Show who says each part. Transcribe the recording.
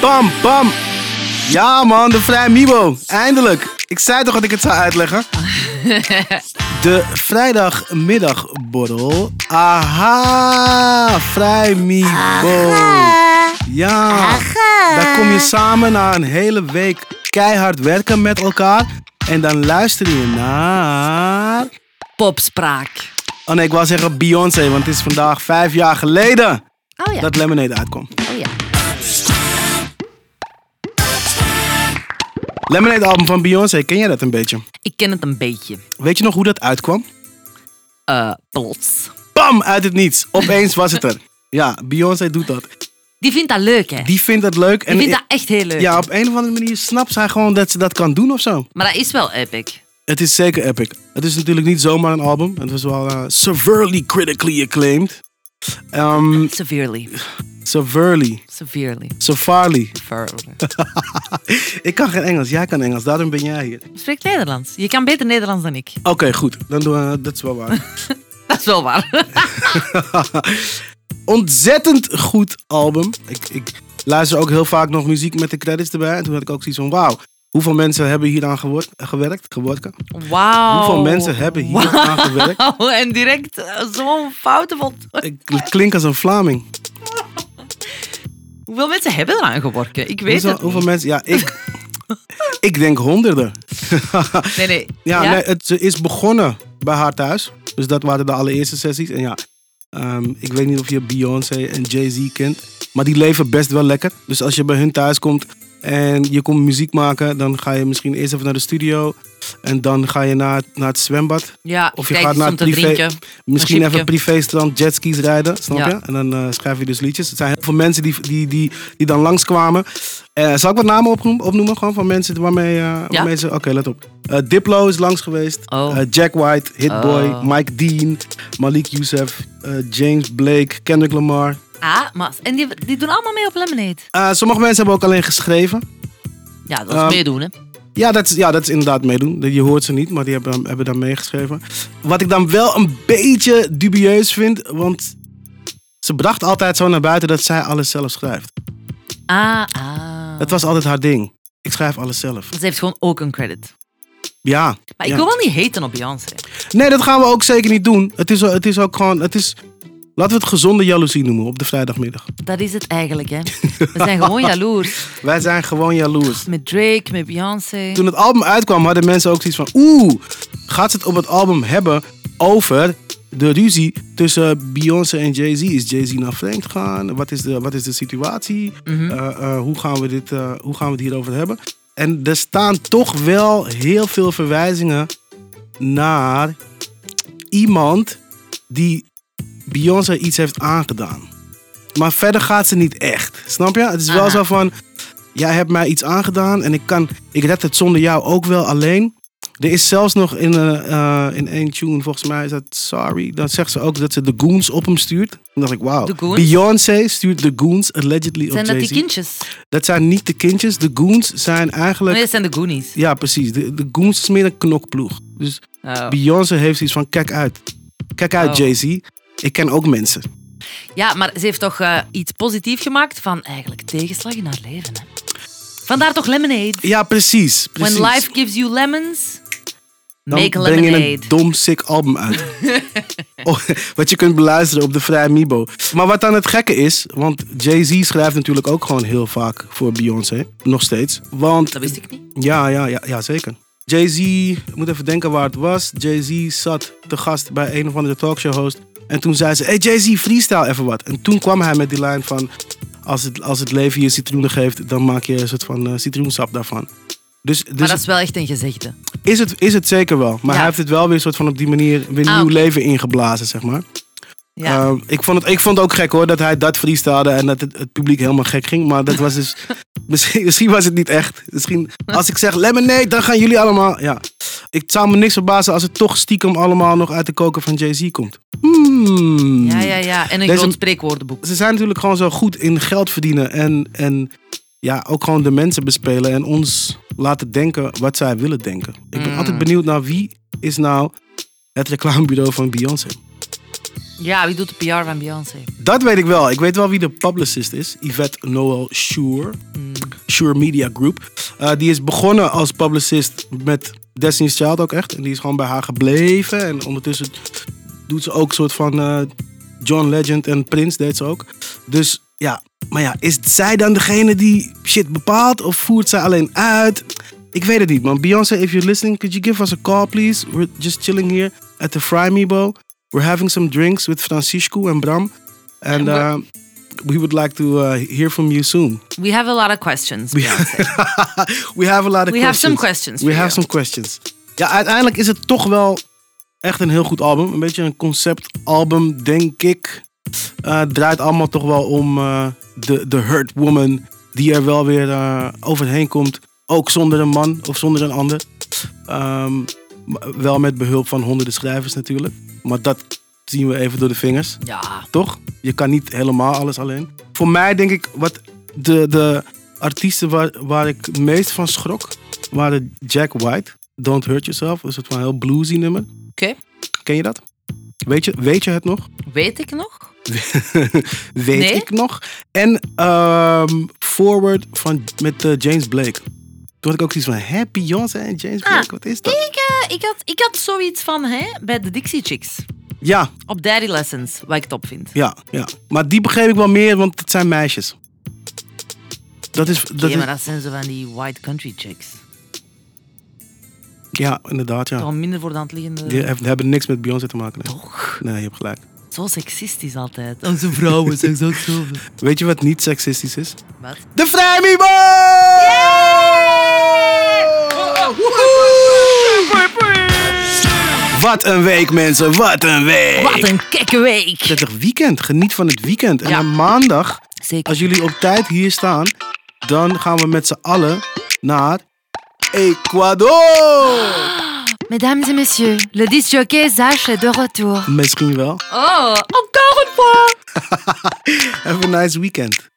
Speaker 1: Pam, pam. Ja man, de Vrij Mibo. Eindelijk. Ik zei toch dat ik het zou uitleggen? De vrijdagmiddagborrel. Aha, Vrij Mibo. Ja, daar kom je samen na een hele week keihard werken met elkaar. En dan luister je naar...
Speaker 2: Popspraak.
Speaker 1: Oh nee, ik wou zeggen Beyoncé, want het is vandaag vijf jaar geleden
Speaker 2: Oh ja.
Speaker 1: dat Lemonade uitkwam.
Speaker 2: Oh ja.
Speaker 1: Lemonade album van Beyoncé, ken jij dat een beetje?
Speaker 2: Ik ken het een beetje.
Speaker 1: Weet je nog hoe dat uitkwam?
Speaker 2: Eh, plots.
Speaker 1: Bam, uit het niets. Opeens was het er. Ja, Beyoncé doet dat.
Speaker 2: Die vindt dat leuk, hè? Die
Speaker 1: Die vindt dat leuk. En
Speaker 2: vindt dat echt heel leuk.
Speaker 1: ja, op een of andere manier snapt zij gewoon dat ze dat kan doen of zo.
Speaker 2: Maar dat is wel epic.
Speaker 1: Het is zeker epic. Het is natuurlijk niet zomaar een album. Het was wel eh, severely critically acclaimed. Ehm
Speaker 2: Severely.
Speaker 1: severely.
Speaker 2: Severely.
Speaker 1: Severely.
Speaker 2: Severely.
Speaker 1: Ik kan geen Engels. Jij kan Engels. Daarom ben jij hier.
Speaker 2: Spreek Nederlands. Je kan beter Nederlands dan ik.
Speaker 1: Oké, goed. Dan doen we... Dat is wel waar.
Speaker 2: Dat is wel waar.
Speaker 1: ontzettend goed album. Ik, ik luister ook heel vaak nog muziek met de credits erbij. En toen had ik ook zoiets van, wauw, hoeveel mensen hebben hier aan gewerkt, gewerkt, geworken?
Speaker 2: Wauw.
Speaker 1: Hoeveel mensen hebben hier aan gewerkt?
Speaker 2: Oh. Wauw, en direct eh, zo'n fouten voltooid.
Speaker 1: Ik klink als een Vlaming.
Speaker 2: Hoeveel mensen hebben eraan geworken? Ik weet
Speaker 1: Hoeveel,
Speaker 2: het
Speaker 1: hoeveel
Speaker 2: niet.
Speaker 1: mensen? Ja, ik, ik denk honderden.
Speaker 2: Nee, nee.
Speaker 1: Ja, Nee, het, ze is begonnen bij haar thuis. Dus dat waren de allereerste sessies. En ja, ehm, ik weet niet of je Beyoncé en Jay-Z kent. Maar die leven best wel lekker. Dus als je bij hun thuis komt en je komt muziek maken... dan ga je misschien eerst even naar de studio. En dan ga je naar, naar het zwembad.
Speaker 2: ja
Speaker 1: Of je
Speaker 2: kijk,
Speaker 1: gaat
Speaker 2: iets
Speaker 1: naar
Speaker 2: om te
Speaker 1: privé-
Speaker 2: drinken.
Speaker 1: Misschien
Speaker 2: Een
Speaker 1: even
Speaker 2: schipje.
Speaker 1: privéstrand, jetskis rijden, snap
Speaker 2: Ja.
Speaker 1: je? En dan eh, schrijf je dus liedjes. Het zijn heel veel mensen die, die, die, die dan langskwamen. Eh zal ik wat namen opnoemen? opnoemen gewoon van mensen waarmee, eh, waarmee ze... Oké, let op. Eh, Diplo is langs geweest.
Speaker 2: Oh.
Speaker 1: Eh, Jack White, Hitboy,
Speaker 2: Oh.
Speaker 1: Mike Dean, Malik Youssef, eh, James Blake, Kendrick Lamar.
Speaker 2: Ah, maar, en die, die doen allemaal mee op Lemonade.
Speaker 1: Eh, sommige mensen hebben ook alleen geschreven.
Speaker 2: Ja, dat is
Speaker 1: Ehm,
Speaker 2: meedoen, hè.
Speaker 1: Ja dat, is, ja, dat is inderdaad meedoen. Je hoort ze niet, maar die hebben, dan- hebben dan meegeschreven. Wat ik dan wel een beetje dubieus vind, want ze bracht altijd zo naar buiten dat zij alles zelf schrijft.
Speaker 2: Ah, ah.
Speaker 1: Dat was altijd haar ding. Ik schrijf alles zelf.
Speaker 2: Ze heeft gewoon ook een credit.
Speaker 1: Ja.
Speaker 2: Maar ik
Speaker 1: ja.
Speaker 2: wil wel niet haten op Beyoncé.
Speaker 1: Nee, dat gaan we ook zeker niet doen. Het is, het is ook gewoon, het is, laten we het gezonde jaloezie noemen op de vrijdagmiddag.
Speaker 2: Dat is het eigenlijk, hè. We zijn gewoon jaloers.
Speaker 1: Wij zijn gewoon jaloers.
Speaker 2: Met Drake, met Beyoncé.
Speaker 1: Toen het album uitkwam, hadden mensen ook zoiets van: oeh, gaat ze het op het album hebben over de ruzie tussen Beyoncé en Jay-Z? Is Jay-Z naar vreemd gegaan? Wat is de, wat is de situatie? Eh, eh, hoe, gaan we dit, eh, hoe gaan we het hierover hebben? En er staan toch wel heel veel verwijzingen naar iemand die Beyoncé iets heeft aangedaan. Maar verder gaat ze niet echt. Snap je? Het is wel
Speaker 2: Aha.
Speaker 1: zo van. Jij hebt mij iets aangedaan en ik, kan, ik red het zonder jou ook wel alleen. Er is zelfs nog in, eh eh, in één tune, volgens mij is dat Sorry. Dan zegt ze ook dat ze de goons op hem stuurt. Toen dacht ik, wauw.
Speaker 2: De goons?
Speaker 1: Beyoncé stuurt de goons allegedly
Speaker 2: Zijn
Speaker 1: op
Speaker 2: dat die
Speaker 1: Jay-Z.
Speaker 2: kindjes?
Speaker 1: Dat zijn niet de kindjes. De goons zijn eigenlijk...
Speaker 2: Nee, dat zijn de Goonies.
Speaker 1: Ja, precies. De, de goons is meer een knokploeg. Dus
Speaker 2: Oh.
Speaker 1: Beyoncé heeft iets van, kijk uit. Kijk uit,
Speaker 2: Oh.
Speaker 1: Jay-Z. Ik ken ook mensen.
Speaker 2: Ja, maar ze heeft toch eh, iets positiefs gemaakt van eigenlijk tegenslag in haar leven. Hè? Vandaar toch lemonade.
Speaker 1: Ja, precies. precies.
Speaker 2: When life gives you lemons,
Speaker 1: Dan
Speaker 2: make a
Speaker 1: breng je
Speaker 2: lemonade.
Speaker 1: een dom, sick album uit. Oh, wat je kunt beluisteren op de Vrij Mibo. Maar wat dan het gekke is, want Jay-Z schrijft natuurlijk ook gewoon heel vaak voor Beyoncé. Nog steeds. Want,
Speaker 2: Dat wist ik niet.
Speaker 1: ja, ja, ja, ja zeker. Jay-Z, ik moet even denken waar het was. Jay-Z zat te gast bij een of andere talkshow host. En toen zei ze, hey Jay-Z, freestyle even wat. En toen kwam hij met die lijn van, als het, als het leven je citroenen geeft, dan maak je een soort van eh, citroensap daarvan. Dus, dus
Speaker 2: Maar dat is wel echt een gezegde.
Speaker 1: is het, is het zeker wel. Maar
Speaker 2: Ja.
Speaker 1: hij heeft het wel weer soort van op die manier weer
Speaker 2: Ah,
Speaker 1: nieuw
Speaker 2: oké.
Speaker 1: leven ingeblazen, zeg maar.
Speaker 2: Ja.
Speaker 1: Ehm, ik, vond het, ik vond het ook gek hoor, dat hij dat freestylde en dat het, het publiek helemaal gek ging. Maar dat was dus... misschien, misschien was het niet echt. Misschien als ik zeg lemonade, dan gaan jullie allemaal... Ja. Ik zou me niks verbazen als het toch stiekem allemaal nog uit de koker van Jay-Z komt. Hmm.
Speaker 2: ja, ja, ja. En een
Speaker 1: Deze-
Speaker 2: groot spreekwoordenboek.
Speaker 1: Ze zijn natuurlijk gewoon zo goed in geld verdienen en... en ja, ook gewoon de mensen bespelen en ons laten denken wat zij willen denken. Ik ben
Speaker 2: Hmm.
Speaker 1: altijd benieuwd naar wie is nou het reclamebureau van Beyoncé.
Speaker 2: Ja, wie doet de PR van Beyoncé?
Speaker 1: Dat weet ik wel. Ik weet wel wie de publicist is. Yvette Noel Shure. Sure Media Group. Eh, die is begonnen als publicist met Destiny's Child ook echt. En die is gewoon bij haar gebleven. En ondertussen doet ze ook een soort van eh, John Legend en Prince deed ze ook. Dus ja, maar ja, is zij dan degene die shit bepaalt? Of voert zij alleen uit? Ik weet het niet, man. Beyoncé, if you're listening, could you give us a call, please? We're just chilling here at the Fry Meebo. We're having some drinks with Francisco en Bram. And
Speaker 2: we-
Speaker 1: uh, we would like to uh, hear from you soon.
Speaker 2: We have a lot of questions.
Speaker 1: We, Uh, we have a lot of
Speaker 2: We
Speaker 1: questions.
Speaker 2: have some questions
Speaker 1: We
Speaker 2: for
Speaker 1: have
Speaker 2: you.
Speaker 1: some questions. Ja, uiteindelijk is het toch wel echt een heel goed album. Een beetje een conceptalbum, denk ik. Eh, het draait allemaal toch wel om eh, de, de hurt woman die er wel weer eh, overheen komt. Ook zonder een man of zonder een ander. Ehm, maar wel met behulp van honderden schrijvers natuurlijk. Maar dat zien we even door de vingers
Speaker 2: Ja.
Speaker 1: toch? Je kan niet helemaal alles alleen. Voor mij denk ik, wat de, de artiesten waar, waar ik het meest van schrok, waren Jack White. Don't Hurt Yourself, een soort van heel bluesy nummer.
Speaker 2: Oké.
Speaker 1: Ken je dat? Weet je, weet je het nog?
Speaker 2: Weet ik nog?
Speaker 1: weet
Speaker 2: Nee.
Speaker 1: ik nog. En ehm, Forward van, met eh, James Blake. Toen had ik ook zoiets van, hè, Beyoncé en James
Speaker 2: Ah.
Speaker 1: Blake, wat is dat?
Speaker 2: Ik, eh, ik, had, ik had zoiets van hè, bij de Dixie Chicks.
Speaker 1: Ja,
Speaker 2: Op Daddy Lessons, wat ik top vind.
Speaker 1: ja, ja. Maar die begreep ik wel meer, want het zijn meisjes. Dat is, dat
Speaker 2: ja,
Speaker 1: is,
Speaker 2: maar dat zijn zo van die white country chicks.
Speaker 1: ja inderdaad, ja.
Speaker 2: Toch wel minder voor de hand liggende...
Speaker 1: Die hef- hebben niks met Beyoncé te maken. Nee.
Speaker 2: Toch?
Speaker 1: nee, je hebt gelijk.
Speaker 2: Zo seksistisch altijd. Onze vrouwen zijn zo zo.
Speaker 1: Weet je wat niet seksistisch is?
Speaker 2: Wat?
Speaker 1: De Vrijmibo!
Speaker 2: Oh,
Speaker 1: Wat een week, mensen. Wat een week.
Speaker 2: Wat een kekke week!
Speaker 1: Prettig weekend. Geniet van het weekend. En
Speaker 2: Ja.
Speaker 1: aan maandag,
Speaker 2: Zeker.
Speaker 1: als jullie op tijd hier staan, dan gaan we met z'n allen naar
Speaker 2: Ah.
Speaker 1: Ecuador.
Speaker 3: Mesdames et messieurs, le disjockey Zach est de retour.
Speaker 1: Misschien wel.
Speaker 2: Oh, encore een fois!
Speaker 1: Have a nice weekend.